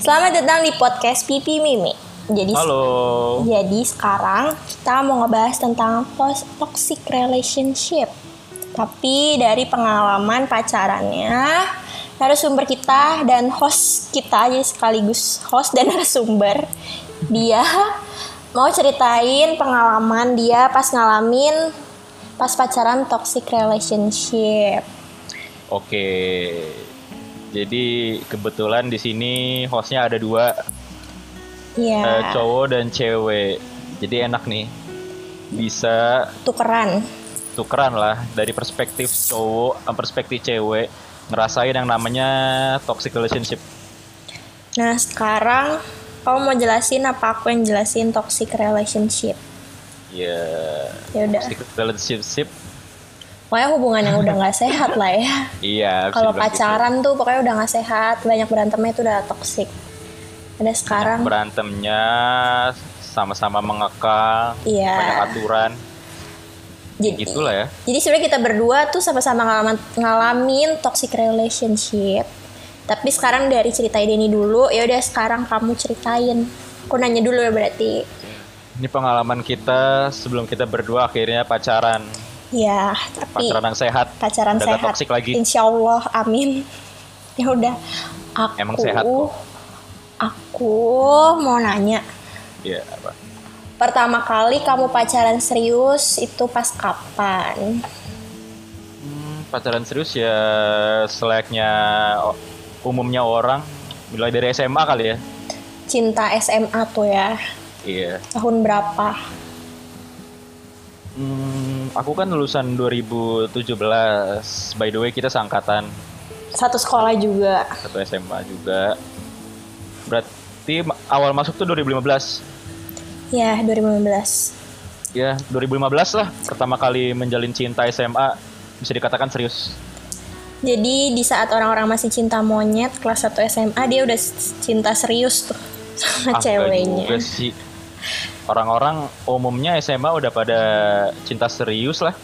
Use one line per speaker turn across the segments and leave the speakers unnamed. Selamat datang di podcast Pipi Mimi. Jadi
Halo.
jadi sekarang kita mau ngebahas tentang pos- toxic relationship. Tapi dari pengalaman pacarannya, narasumber kita dan host kita aja sekaligus host dan narasumber. Dia mau ceritain pengalaman dia pas ngalamin pas pacaran toxic relationship.
Oke. Jadi kebetulan di sini hostnya ada dua
Ya,
eh, cowok dan cewek. Jadi enak nih. Bisa
tukeran.
tukeran lah dari perspektif cowok sama perspektif cewek ngerasain yang namanya toxic relationship.
Nah, sekarang kamu mau jelasin apa aku yang jelasin toxic relationship?
Ya,
Ya udah.
toxic relationship.
Pokoknya hubungan yang udah nggak sehat lah ya.
Iya, bisa
Kalau
dibilang gitu.
pacaran tuh pokoknya udah nggak sehat, banyak berantemnya itu udah toxic. Ada
Nah,
sekarang,
berantemnya sama-sama mengekang,
Iya.
banyak aturan,
jadi
gitulah ya.
jadi sebenarnya kita berdua tuh sama-sama ngalamin, ngalamin toxic relationship. Tapi sekarang dari cerita ini dulu, ya udah sekarang kamu ceritain. Aku nanya dulu ya berarti.
Ini pengalaman kita sebelum kita berdua akhirnya pacaran.
Ya, tapi
Pacaran yang sehat.
pacaran
Udah
sehat. Iya.
gak toksik lagi.
Insya Allah, amin. Ya udah, aku
Emang sehat kok.
Aku mau nanya,
Iya, apa?
pertama kali kamu pacaran serius itu pas kapan?
Hmm, pacaran serius ya seleknya o- umumnya orang mulai dari SMA kali ya.
Cinta SMA tuh ya,
Iya.
tahun berapa?
Hmm, aku kan lulusan 2017. By the way, kita seangkatan
Satu sekolah juga.
satu SMA juga. Berarti ma- awal masuk tuh 2015.
Ya, 2015.
Ya, 2015 lah pertama kali menjalin cinta SMA bisa dikatakan serius.
Jadi di saat orang-orang masih cinta monyet kelas 1 SMA dia udah s- cinta serius tuh sama
Ah,
ceweknya.
enggak juga sih. Orang-orang umumnya SMA udah pada cinta serius lah.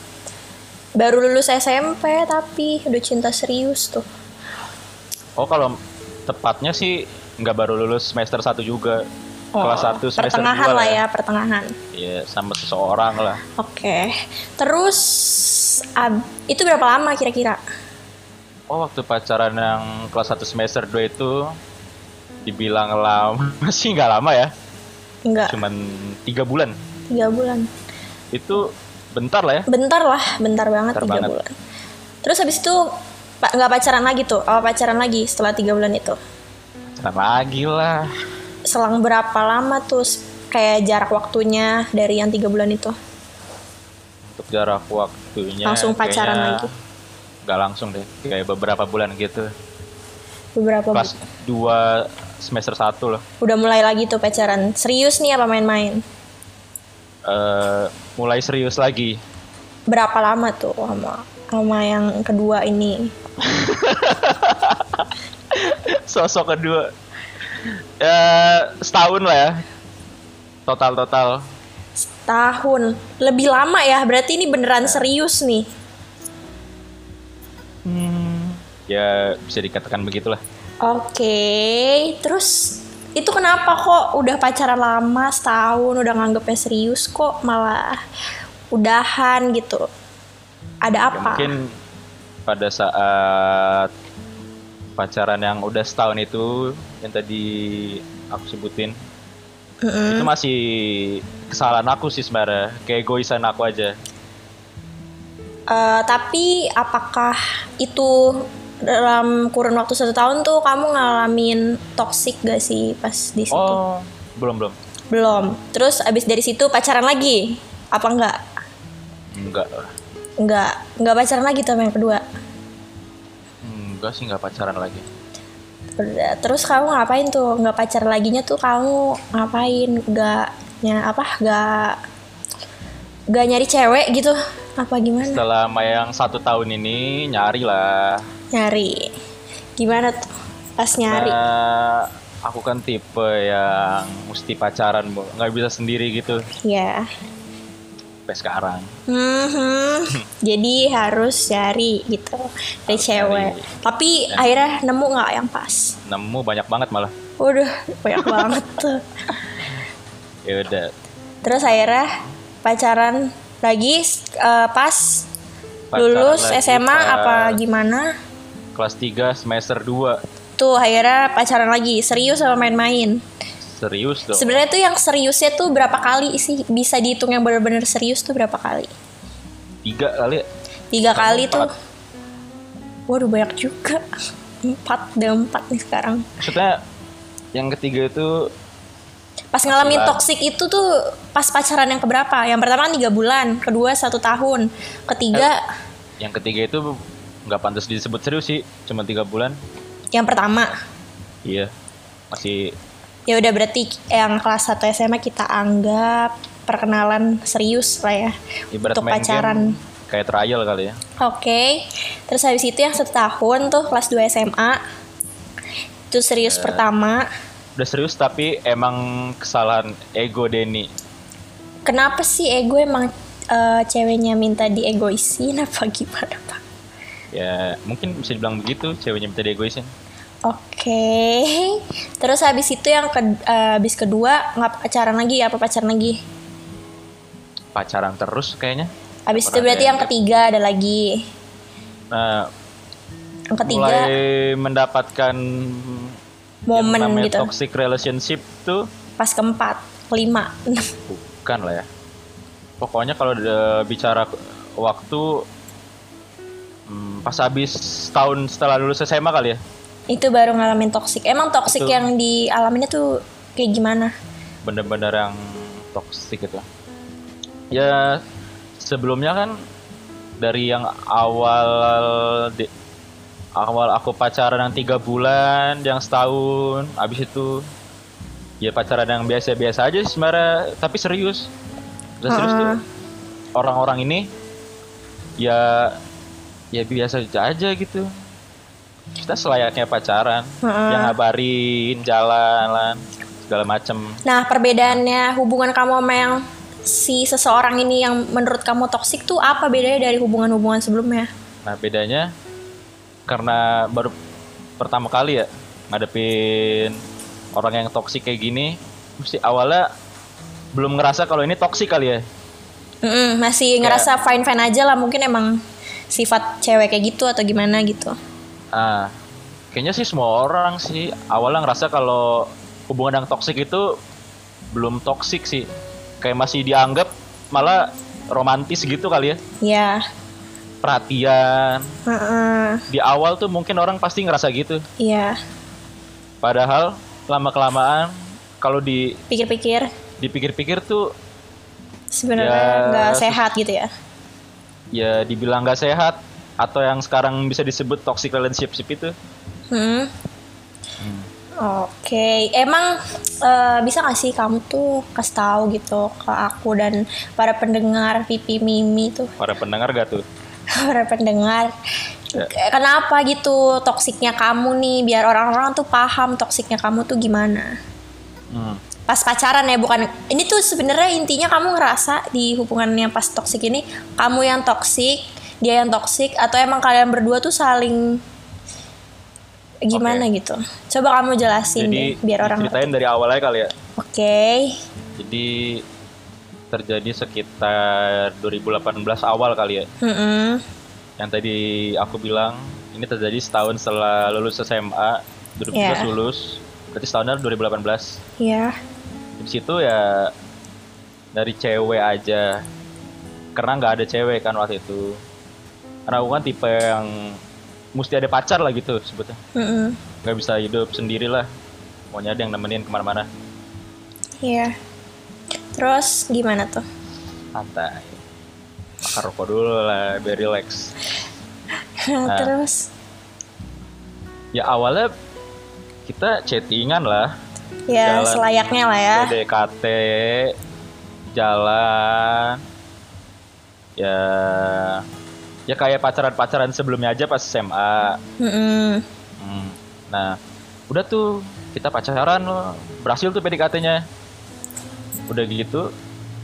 Baru lulus SMP tapi udah cinta serius tuh.
Oh kalau tepatnya sih nggak baru lulus semester 1 juga.
Oh,
Kelas 1 semester 2
pertengahan lah ya, pertengahan.
Iya, sama seseorang lah.
Oke. Terus ab- itu berapa lama kira-kira?
Oh waktu pacaran yang kelas 1 semester 2 itu dibilang lama sih nggak lama ya.
Enggak,
Cuman tiga bulan.
tiga bulan.
Itu bentar lah ya.
Bentar lah, bentar banget
Bentar
tiga
banget.
bulan. Terus habis itu pa- nggak pacaran lagi tuh? Oh, pacaran lagi setelah tiga bulan itu.
Pacaran lagi lah.
Selang berapa lama tuh? s- Kayak jarak waktunya dari yang tiga bulan itu?
Untuk jarak waktunya.
Langsung pacaran
kayaknya
lagi.
Nggak langsung deh. Kayak beberapa bulan gitu.
Beberapa
kelas
bu-
2 semester 1 loh.
Udah mulai lagi tuh pacaran. Serius nih apa main-main?
Eh, mulai serius lagi.
Berapa lama tuh sama sama yang kedua ini?
Sosok kedua. Eh, setahun lah ya. Total-total.
Setahun. Lebih lama ya, berarti ini beneran serius nih.
Ya bisa dikatakan begitulah.
Oke, terus itu kenapa kok udah pacaran lama setahun udah nganggepnya serius kok malah udahan gitu? Ada
Ya,
apa?
mungkin pada saat pacaran yang udah setahun itu yang tadi aku sebutin
Mm-mm.
itu masih kesalahan aku sih sebenarnya keegoisan aku aja
Eh, tapi apakah itu dalam kurun waktu satu tahun tuh kamu ngalamin toxic gak sih pas di situ?
oh belum belum
Belum. Terus abis dari situ pacaran lagi? Apa enggak?
enggak lah.
Enggak. Enggak pacaran lagi tuh sama yang kedua.
enggak sih enggak pacaran lagi
Ber- Terus kamu ngapain tuh? Nggak pacar laginya tuh kamu ngapain? Nggak nya apa? Nggak nggak nyari cewek gitu? Apa gimana?
Setelah sama yang satu tahun ini nyari lah.
Nyari. Gimana tuh pas nyari?
Nah, aku kan tipe yang mesti pacaran, Bu. nggak bisa sendiri gitu.
Ya.
Sampai sekarang.
Mhm. Jadi harus cari gitu dari cewek. Tapi akhirnya nemu nggak yang pas?
Nemu banyak banget malah.
Waduh, banyak banget tuh.
ya udah
Terus akhirnya pacaran lagi eh, pas
Pacaran
lulus
lagi
SMA
pas-
apa gimana?
kelas 3 semester 2
Tuh akhirnya pacaran lagi, serius sama main-main.
serius dong
Sebenarnya tuh yang seriusnya tuh berapa kali sih? Bisa dihitung yang benar-benar serius tuh berapa kali?
tiga kali ya?
Tiga
Sama
kali tuh.
empat.
Waduh banyak juga. Empat, udah empat nih sekarang.
maksudnya yang ketiga itu
Pas ngalamin
Gila.
toksik itu tuh pas pacaran yang keberapa? Yang pertama kan tiga bulan, kedua satu tahun, ketiga
yang ketiga itu nggak pantas disebut serius sih cuma tiga bulan
yang pertama.
iya masih
Ya udah berarti yang kelas 1 SMA kita anggap perkenalan serius lah ya
ibarat
untuk
main
pacaran.
game kayak trial kali ya
Oke. Terus habis itu yang satu tahun tuh kelas 2 SMA. Itu
Eh.
serius pertama.
udah serius tapi emang kesalahan ego Denny
Kenapa sih ego emang eh, ceweknya minta diegoisin apa gimana, Pak?
ya mungkin bisa dibilang begitu ceweknya minta diegoisin
Oke, terus habis itu yang ke, eh, habis kedua nggak pacaran lagi apa pacaran lagi?
pacaran terus kayaknya
Habis itu
Pernah
berarti
ada
yang
yang-
ketiga ada lagi.
nah
Yang ketiga
mulai mendapatkan yang
momen
namanya
gitu.
toxic relationship tuh
Pas keempat, kelima, enam.
bukan lah ya pokoknya kalau ada bicara waktu hmm, pas habis tahun setelah lulus SMA kali ya
itu baru ngalamin toksik. Emang toksik
Betul.
yang dialaminya tuh kayak gimana?
bener-bener yang toxic gitu ya sebelumnya kan dari yang awal di- awal aku pacaran yang tiga bulan yang setahun habis itu ya pacaran yang biasa-biasa aja sih sebenarnya tapi serius udah serius tuh
Heeh.
orang-orang ini ya ya biasa aja gitu kita selayaknya pacaran
Heeh.
yang ngabarin jalan segala macem
Nah perbedaannya hubungan kamu sama yang si seseorang ini yang menurut kamu toksik tuh apa bedanya dari hubungan-hubungan sebelumnya?
Nah bedanya karena baru pertama kali ya ngadepin orang yang toksik kayak gini, mesti awalnya belum ngerasa kalau ini toksik kali ya.
Mm-mm, masih ngerasa fine fine aja lah mungkin emang sifat cewek kayak gitu atau gimana gitu
Ah, kayaknya sih semua orang sih awalnya ngerasa kalau hubungan yang toksik itu belum toksik sih, kayak masih dianggap malah romantis gitu kali ya,
ya
perhatian.
heeh,
Di awal tuh mungkin orang pasti ngerasa gitu,
ya
padahal lama kelamaan kalau di
pikir-pikir
dipikir-pikir tuh
sebenarnya
Ya,
nggak
sus-
sehat gitu ya
ya dibilang nggak sehat atau yang sekarang bisa disebut toxic relationship itu
Hmm.
Hmm.
Oke, emang eh, bisa gak sih kamu tuh kasih tahu gitu ke aku dan para pendengar pipi mimi tuh
para pendengar gak tuh
para pendengar kenapa gitu toksiknya kamu nih biar orang-orang tuh paham toksiknya kamu tuh gimana?
hmm.
pas pacaran ya bukan ini tuh sebenarnya intinya kamu ngerasa di hubungan yang pas toksik ini kamu yang toksik dia yang toksik atau emang kalian berdua tuh saling gimana gitu coba kamu jelasin
jadi
deh, biar orang oke
ceritain dari awalnya kali ya jadi terjadi sekitar 2018 awal kali ya
Mm-mm.
yang tadi aku bilang ini terjadi setahun setelah lulus SMA 2017
Yeah.
lulus berarti setahunnya 2018
ya
di situ ya dari cewek aja karena nggak ada cewek kan waktu itu karena aku kan tipe yang mesti ada pacar lah gitu sebetulnya
Mm-mm.
nggak bisa hidup sendiri lah maunya ada yang nemenin kemana-mana
ya terus gimana tuh
santai makan rokok dulu lah biar relax
terus
ya awalnya kita chattingan lah
ya
jalan.
selayaknya lah ya
PDKT jalan ya ya kayak pacaran-pacaran sebelumnya aja pas SMA
Mm-mm.
Hmm. Nah, udah tuh kita pacaran loh. Berhasil tuh PDKT-nya. Udah gitu,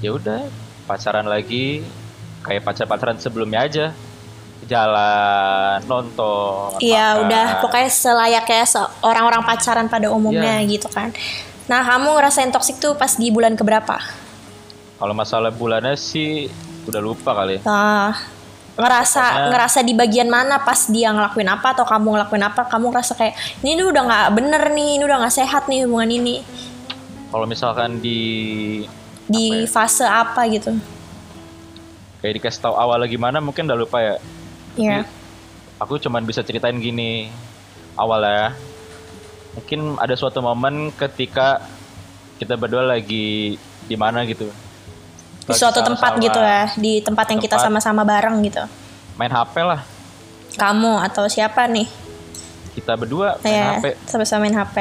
ya udah pacaran lagi kayak pacar-pacaran sebelumnya aja. jalan nonton
Iya
makan.
udah pokoknya selayaknya se- orang-orang pacaran pada umumnya
Iya.
gitu kan. Nah kamu ngerasain toksik tuh pas di bulan keberapa?
kalau masalah bulannya sih udah lupa kali
Nah, ngerasa
Pokoknya-
ngerasa di bagian mana pas dia ngelakuin apa atau kamu ngelakuin apa kamu ngerasa kayak ini tuh udah nggak bener nih ini udah nggak sehat nih hubungan ini
kalau misalkan di ya?
di fase apa gitu
kayak dikasih tahu awal gimana mungkin udah lupa ya
ya
aku cuman bisa ceritain gini awalnya mungkin ada suatu momen ketika kita berdua lagi di mana gitu
di
Lagi
suatu tempat
sama-sama
gitu ya di tempat yang kita
Tempat.
sama-sama bareng gitu
main HP lah
kamu atau siapa nih
kita berdua main
ya
HP
sama-sama main HP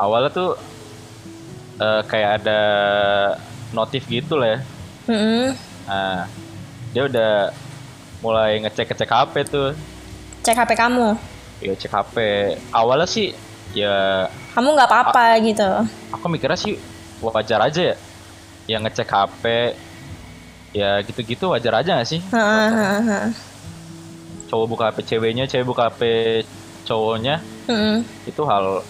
awalnya tuh eh, kayak ada notif gitu lah ya
Mm-mm.
nah, dia udah mulai ngecek ngecek HP tuh
cek HP kamu
ya cek HP awalnya sih ya
kamu nggak apa-apa
Ah.
gitu
aku mikirnya sih wajar aja ya yang ngecek HP ya gitu-gitu wajar aja gak sih
Heeh, heeh, heeh.
cowok buka HP ceweknya cewek buka HP cowoknya
Mm-mm,
itu hal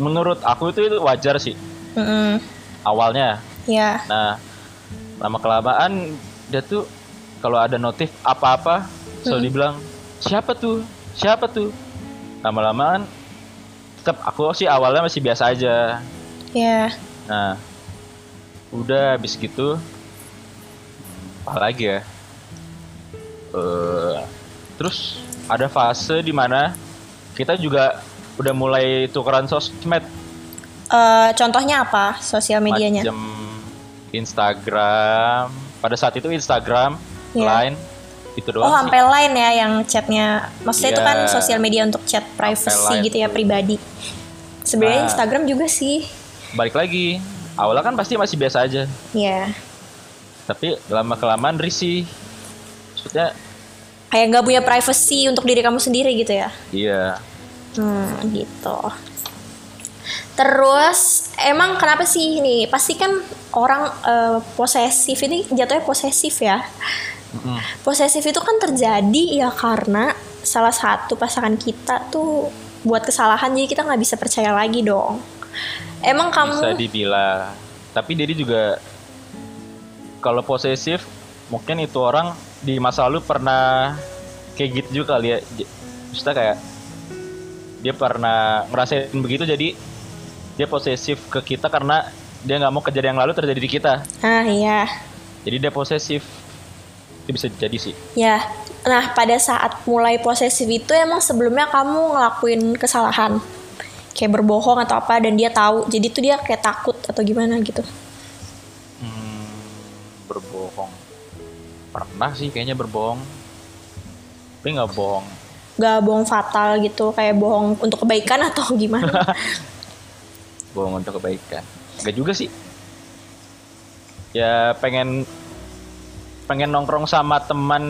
menurut aku itu, itu wajar sih
mm-mm.
awalnya
ya
nah lama kelamaan dia tuh kalau ada notif apa-apa selalu dibilang siapa tuh siapa tuh lama-lamaan tetap aku sih awalnya masih biasa aja
ya
Nah, udah habis gitu, apa lagi ya? Eh, terus ada fase di mana kita juga udah mulai tukeran sosmed,
Eh, contohnya apa sosial medianya
macam Instagram. Pada saat itu Instagram,
Iya.
Line, itu
Oh,
doang. sih.
sampai lain ya yang chatnya. Maksudnya itu
Iya.
kan sosial media untuk chat
Line
privacy gitu ya pribadi. Sebenarnya
Nah.
Instagram juga sih.
Balik lagi, awalnya kan pasti masih biasa aja,
Ya,
tapi lama kelamaan risih. Maksudnya,
kayak nggak punya privacy untuk diri kamu sendiri gitu ya.
iya.
Hmm, gitu. Terus emang kenapa sih ini? Pasti kan orang eh, posesif ini jatuhnya posesif ya.
Mm-mm.
Posesif itu kan terjadi ya karena salah satu pasangan kita tuh buat kesalahan jadi kita nggak bisa percaya lagi dong. Emang kamu
bisa dibilang tapi jadi juga kalau posesif mungkin itu orang di masa lalu pernah kayak gitu juga kali ya J- maksudnya kayak dia pernah ngerasain begitu jadi dia posesif ke kita karena dia nggak mau kejadian yang lalu terjadi di kita
Ah iya,
jadi dia posesif itu bisa jadi sih
ya. Nah pada saat mulai posesif itu emang sebelumnya kamu ngelakuin kesalahan, kayak berbohong atau apa dan dia tahu, jadi tuh dia kayak takut atau gimana gitu.
Hmm, berbohong pernah sih kayaknya berbohong tapi nggak bohong
Gak bohong fatal gitu, kayak bohong untuk kebaikan atau gimana?
bohong untuk kebaikan gak juga sih ya pengen pengen nongkrong sama teman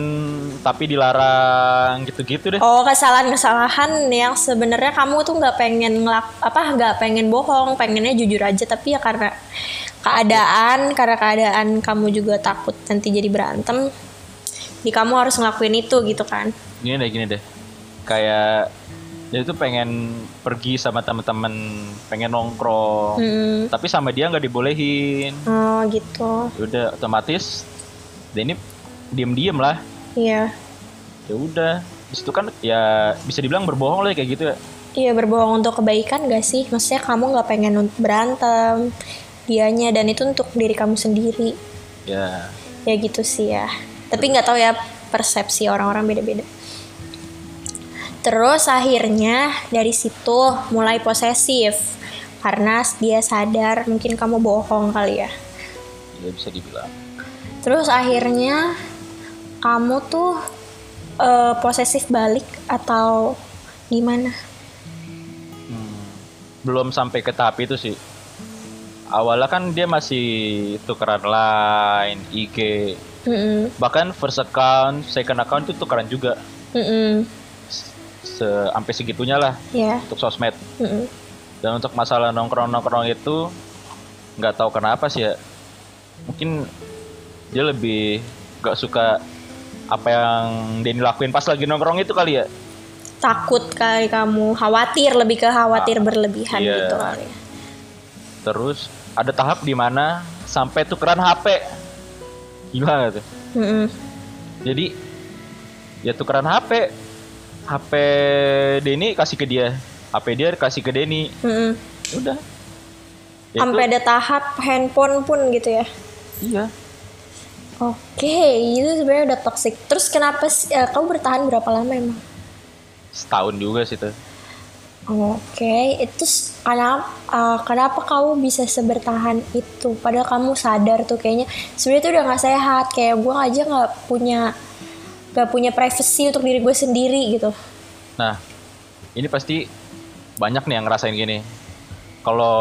tapi dilarang gitu-gitu deh
oh kesalahan-kesalahan yang sebenarnya kamu tuh nggak pengen ngelak apa nggak pengen bohong, pengennya jujur aja tapi ya karena keadaan, karena keadaan kamu juga takut nanti jadi berantem, jadi kamu harus ngelakuin itu gitu kan?
gini deh gini deh kayak dia tuh pengen pergi sama teman-teman pengen nongkrong
Hmm.
tapi sama dia nggak dibolehin Ya
Oh gitu,
udah otomatis dia ini diem-diem lah
iya,
ya udah disitu kan ya bisa dibilang berbohong lah kayak gitu ya
iya berbohong untuk kebaikan gak sih? Maksudnya kamu nggak pengen nun- berantem, dianya dan itu untuk diri kamu sendiri,
ya
ya gitu sih ya. Tapi nggak tahu ya persepsi orang-orang beda-beda. Terus akhirnya dari situ mulai posesif karena dia sadar mungkin kamu bohong kali ya.
ya bisa dibilang
Terus akhirnya kamu tuh eh, posesif balik atau gimana?
Hmm, belum sampai ke tahap itu sih. Awalnya kan dia masih tukeran line, IG,
Mm-mm.
bahkan first account, second account itu tukeran juga,
Mm-mm.
Se- sampai segitunya lah
Ya.
untuk sosmed.
Mm-mm.
Dan untuk masalah nongkrong-nongkrong itu nggak tahu kenapa sih ya. Mungkin dia lebih nggak suka apa yang Denny lakuin pas lagi nongkrong itu kali ya
Takut kali kamu, khawatir lebih ke khawatir
Ah,
berlebihan
iya.
gitu kali. ya.
terus ada tahap di mana sampai tukeran HP gila gak tuh
Mm-mm.
jadi ya tukeran HP HP Denny kasih ke dia HP dia kasih ke Denny
Mm-mm.
udah Ya
Sampai ada tahap handphone pun gitu ya.
itu, iya
Oke, itu sebenarnya udah toxic. Terus kenapa sih- eh, kamu bertahan berapa lama emang?
setahun juga sih tuh
Oke, itu s- kenapa, eh, kenapa kamu bisa sebertahan itu? Padahal kamu sadar tuh kayaknya sebenarnya itu udah nggak sehat. Kayak gue aja nggak punya nggak punya privacy untuk diri gue sendiri gitu.
Nah, ini pasti banyak nih yang ngerasain gini. Kalau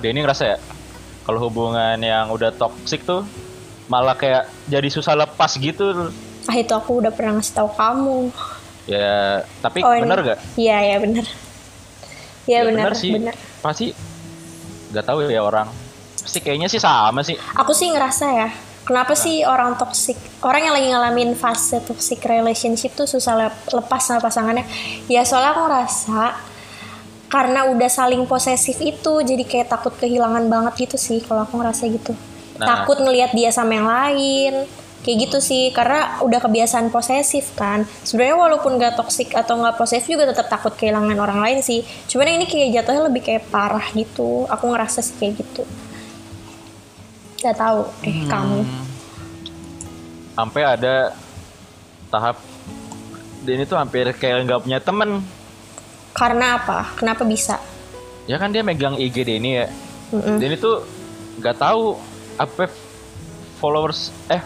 Denny ngerasa ya, kalau hubungan yang udah toksik tuh malah kayak jadi susah lepas gitu.
Ah itu aku udah pernah ngasih tahu kamu.
Ya, tapi
Oh, ini-
bener gak?
Iya ya bener. Iya
Ya,
bener,
sih.
bener.
Pasti nggak tahu ya orang. Pasti kayaknya sih sama sih.
Aku sih ngerasa ya. Kenapa sih orang toxic, orang yang lagi ngalamin fase toxic relationship tuh susah lep- lepas sama pasangannya? Ya soalnya aku ngerasa karena udah saling posesif itu, jadi kayak takut kehilangan banget gitu sih kalau aku ngerasa gitu.
Nah.
Takut ngelihat dia sama yang lain. Kayak gitu sih, karena udah kebiasaan posesif kan. Sebenarnya walaupun gak toxic atau gak posesif juga tetap takut kehilangan orang lain sih. Cuman yang ini kayak jatuhnya lebih kayak parah gitu. Aku ngerasa sih kayak gitu. Gak tahu eh
Hmm.
kamu.
Sampai ada tahap Denny tuh hampir kayak nggak punya temen.
Karena apa? Kenapa bisa?
Ya kan dia megang IG Denny ya.
Mm-mm.
Dan itu nggak tahu apa followers eh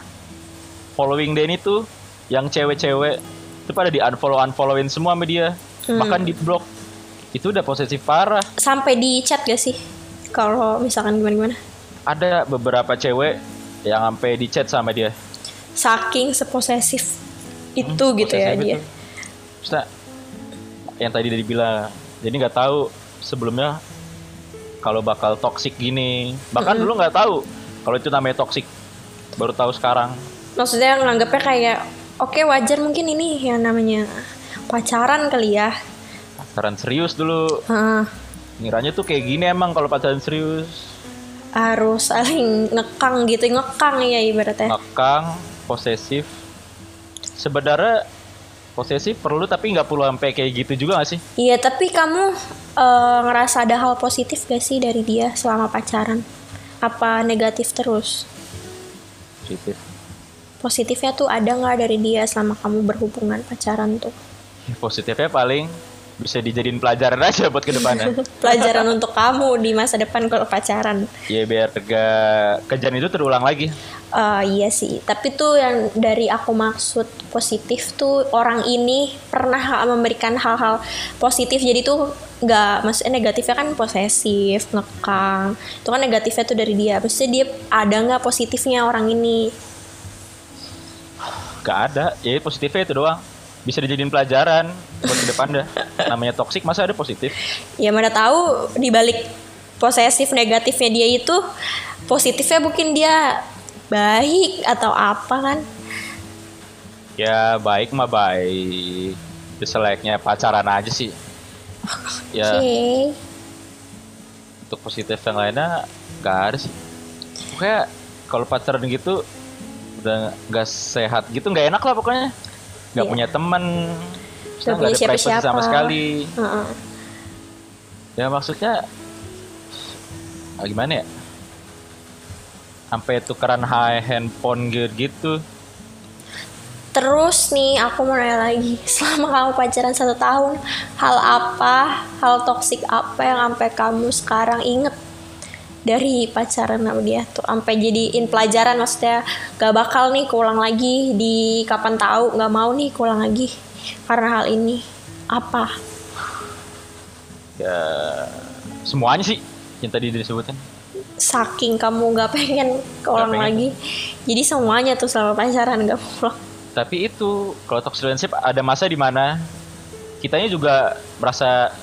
following Denny tuh yang cewek-cewek itu pada di unfollow unfollowin semua sama dia bahkan di blog itu udah posesif parah
Sampai di chat gak sih? Kalau misalkan gimana-gimana?
ada beberapa cewek yang sampai di chat sama dia
Saking seposesif itu gitu ya
Posesif
dia.
Hmm, itu. Terus, nah, yang tadi dia bilang jadi nggak tahu sebelumnya kalau bakal toxic gini bahkan dulu nggak tahu kalau itu namanya toxic baru tahu sekarang
Maksudnya nganggapnya kayak oke wajar mungkin ini yang namanya pacaran kali ya.
pacaran serius dulu
Heeh.
Ngiranya tuh kayak gini emang kalau pacaran serius
harus saling ngekang gitu ngekang ya ibaratnya
ngekang, posesif. Sebenarnya posesif perlu tapi nggak perlu sampai kayak gitu juga gak sih?
iya tapi kamu eh, ngerasa ada hal positif gak sih dari dia selama pacaran apa negatif terus
Positif.
positifnya tuh ada nggak dari dia selama kamu berhubungan pacaran tuh
Ya, Positifnya paling bisa dijadiin pelajaran aja buat kedepannya.
pelajaran untuk kamu di masa depan kalau pacaran
ya biar gak kejadian itu terulang lagi.
Eh, iya sih tapi tuh yang dari aku maksud positif tuh orang ini pernah ha- memberikan hal-hal positif jadi tuh nggak maksudnya negatifnya kan posesif ngekang itu kan negatifnya tuh dari dia maksudnya dia ada nggak positifnya orang ini
Gak ada. Ya positifnya itu doang. Bisa dijadiin pelajaran buat kedepannya. Namanya toksik masa ada positif?
ya mana tahu dibalik posesif negatifnya dia itu positifnya mungkin dia baik atau apa kan
Ya baik mah baik. Ya, Selainnya pacaran aja sih. Ya.
oke
untuk positif yang lainnya nggak ada sih pokoknya kalau pacaran gitu udah nggak sehat gitu nggak enak lah pokoknya nggak
Iya.
punya teman terus
Nggak punya
nggak ada privacy
siapa-siapa.
sama sekali
Heeh.
ya maksudnya ah, gimana ya sampai tukeran high handphone gitu- gitu
terus nih aku mau nanya lagi selama kamu pacaran satu tahun hal apa hal toksik apa yang sampai kamu sekarang inget dari pacaran sama dia tuh sampai jadiin pelajaran maksudnya gak bakal nih keulang lagi di kapan tahu gak mau nih keulang lagi karena hal ini apa
ya semuanya sih yang tadi disebutin
saking kamu gak pengen keulang
pengen.
lagi jadi semuanya tuh selama pacaran gak pulang
tapi itu kalau toxic relationship ada masa di mana kitanya juga merasa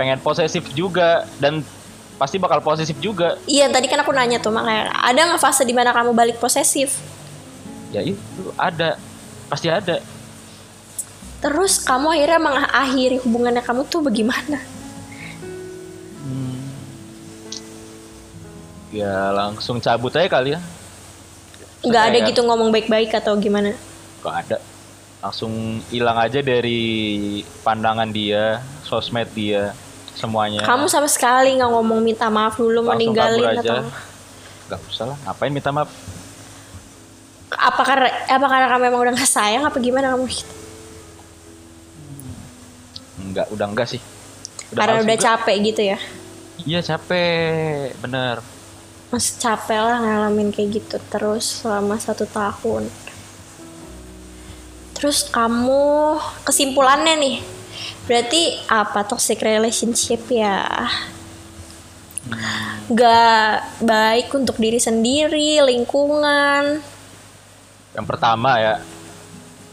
pengen posesif juga dan pasti bakal posesif juga
iya tadi kan aku nanya tuh makanya ada nggak fase dimana kamu balik posesif
ya itu ada pasti ada
Terus kamu akhirnya mengakhiri hubungannya kamu tuh bagaimana?
Hmm. ya langsung cabut aja kali ya
Nggak ada
Kayak- Ya.
gitu ngomong baik-baik atau gimana?
nggak ada langsung hilang aja dari pandangan dia sosmed dia semuanya
Kamu sama sekali nggak ngomong minta maaf dulu,
Langsung
meninggalin
kabur aja.
atau
nggak usah lah ngapain minta maaf
apa karena apa karena kamu emang udah nggak sayang apa gimana kamu?
nggak udah enggak sih
karena
males
udah
juga.
capek gitu ya?
iya capek bener
Mas capek lah ngalamin kayak gitu terus selama satu tahun. Terus kamu kesimpulannya nih, berarti apa toxic relationship ya? Gak baik untuk diri sendiri, lingkungan.
yang pertama ya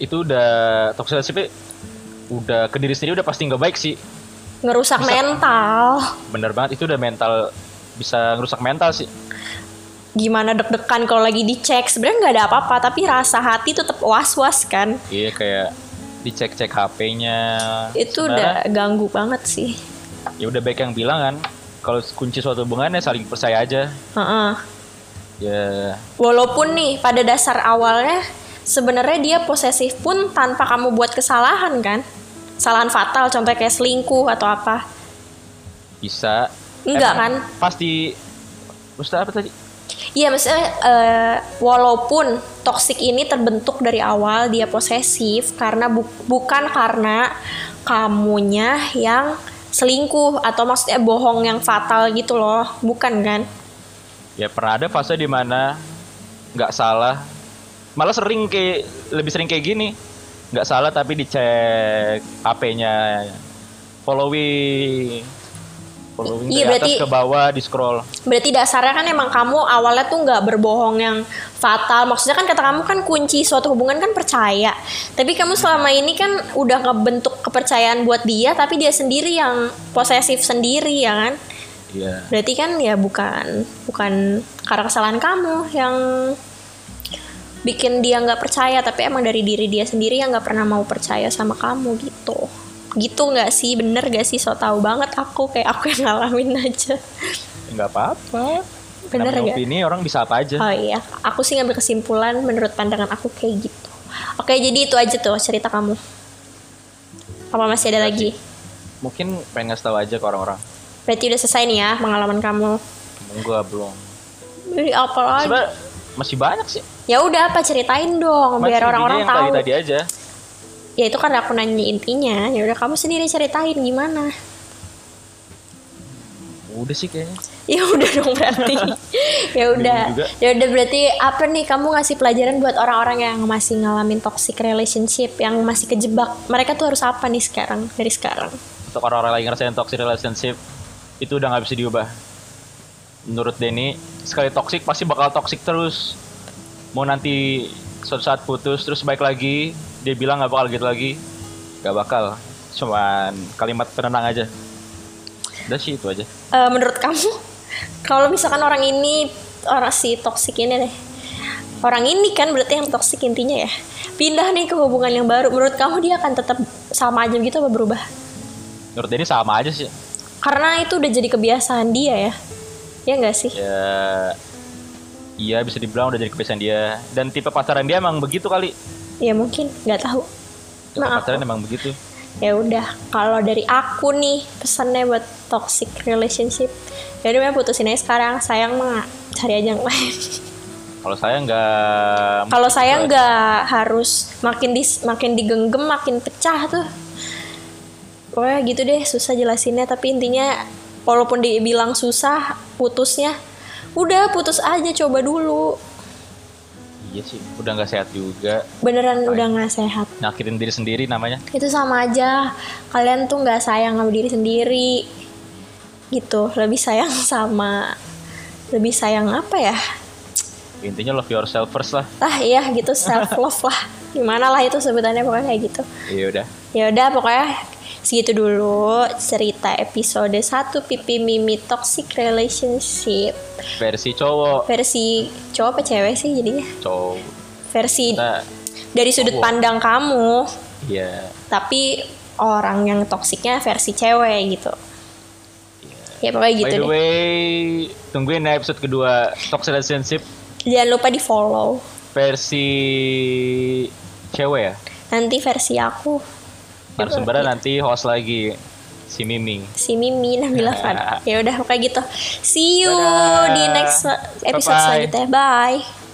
itu udah toxic relationship udah ke diri sendiri udah pasti nggak baik sih
ngerusak mental
bener banget itu udah mental bisa ngerusak mental sih
gimana deg-degan kalau lagi dicek sebenarnya nggak ada apa-apa tapi rasa hati tetap was-was kan
iya kayak dicek-cek HP-nya
itu
Sebenarnya,
udah ganggu banget sih
ya udah baik yang bilang kan kalau kunci suatu hubungannya saling percaya aja
Heeh.
ya
walaupun nih pada dasar awalnya sebenarnya dia posesif pun tanpa kamu buat kesalahan kan kesalahan fatal contohnya kayak selingkuh atau apa
bisa Eh,
Enggak
Emang
kan?
pasti Ustaz apa tadi
Iya maksudnya eh, walaupun toksik ini terbentuk dari awal dia posesif karena bu- bukan karena kamunya yang selingkuh atau maksudnya bohong yang fatal gitu loh, bukan kan?
ya pernah ada fase di mana nggak salah malah sering kayak lebih sering kayak gini nggak salah tapi dicek HP-nya following following
Iya,
dari
berarti-
atas ke bawah di scroll
Berarti dasarnya kan emang kamu awalnya tuh nggak berbohong yang fatal. Maksudnya kan kata kamu kan kunci suatu hubungan kan percaya. Tapi kamu selama ini kan udah ngebentuk kepercayaan buat dia, tapi dia sendiri yang posesif sendiri ya kan?
iya
Berarti kan ya bukan bukan karena kesalahan kamu yang bikin dia nggak percaya, tapi emang dari diri dia sendiri yang nggak pernah mau percaya sama kamu gitu. Gitu nggak sih, bener nggak sih? So tau banget aku kayak aku yang ngalamin aja.
nggak apa-apa
Bener
Namanya
nggak?
opini orang bisa apa aja
Oh iya, aku sih ngambil kesimpulan menurut pandangan aku kayak gitu. Oke, jadi itu aja tuh cerita kamu. Apa masih ada lagi?
mungkin pengen ngasih tahu aja ke orang-orang
Berarti udah selesai nih ya pengalaman kamu.
enggak belum
Ih, Apa lagi?
sebenarnya masih banyak sih
Ya udah apa ceritain dong
Cuma
biar
intinya
orang-orang
yang
tahu.
tadi-tadi aja
Ya itu karena aku nanya intinya. Ya udah kamu sendiri ceritain gimana.
udah sih kayaknya
Ya udah dong berarti. ya udah.
Bingung juga.
Ya udah berarti apa nih kamu ngasih pelajaran buat orang-orang yang masih ngalamin toxic relationship, yang masih kejebak. Mereka tuh harus apa nih sekarang dari sekarang?
untuk orang-orang lagi ngerasain toxic relationship itu udah nggak bisa diubah menurut Denny sekali toxic pasti bakal toxic terus mau nanti suatu saat putus terus baik lagi dia bilang nggak bakal gitu lagi nggak bakal cuman kalimat penenang aja udah sih itu aja
Eh, menurut kamu kalau misalkan orang ini orang si toksik ini deh orang ini kan berarti yang toksik intinya ya pindah nih ke hubungan yang baru menurut kamu dia akan tetap sama aja gitu apa berubah
menurut Denny sama aja sih
karena itu udah jadi kebiasaan dia ya ya nggak sih
ya iya bisa dibilang udah jadi kebiasaan dia dan tipe pacaran dia emang begitu kali
ya mungkin nggak tahu
tipe
Nah,
pacaran emang begitu
ya udah kalau dari aku nih pesannya buat toxic relationship jadi memang putusin aja sekarang sayang mah cari aja yang lain
kalau saya nggak
Kalau saya nggak harus makin dis, makin digenggam makin pecah tuh. Pokoknya gitu deh susah jelasinnya tapi intinya walaupun dibilang susah putusnya udah putus aja coba dulu.
iya sih udah nggak sehat juga
Beneran udah nggak sehat.
nyakitin diri sendiri namanya
Itu sama aja kalian tuh nggak sayang sama diri sendiri. Gitu, lebih sayang sama lebih sayang apa ya?
intinya love yourself first lah
Lah iya gitu self love lah. Gimana lah itu sebutannya pokoknya kayak gitu.
iya udah
Ya udah pokoknya segitu dulu cerita episode 1 Pipi Mimi Toxic Relationship
versi cowok
versi cowok apa cewek sih jadinya
cowok
versi
kita
dari sudut
Wow.
pandang kamu
Iya.
tapi orang yang toksiknya versi cewek gitu ya pokoknya
Iya. By
gitu
the
deh
way, tungguin ya episode kedua Toxic Relationship
jangan lupa di follow
versi cewek ya.
nanti versi aku
Narasumbernya
Iya.
nanti host lagi si Mimi.
si Mimi Nabila Fran ya udah pokoknya gitu see you
Dadah.
di next e-, episode
Bye-bye.
selanjutnya bye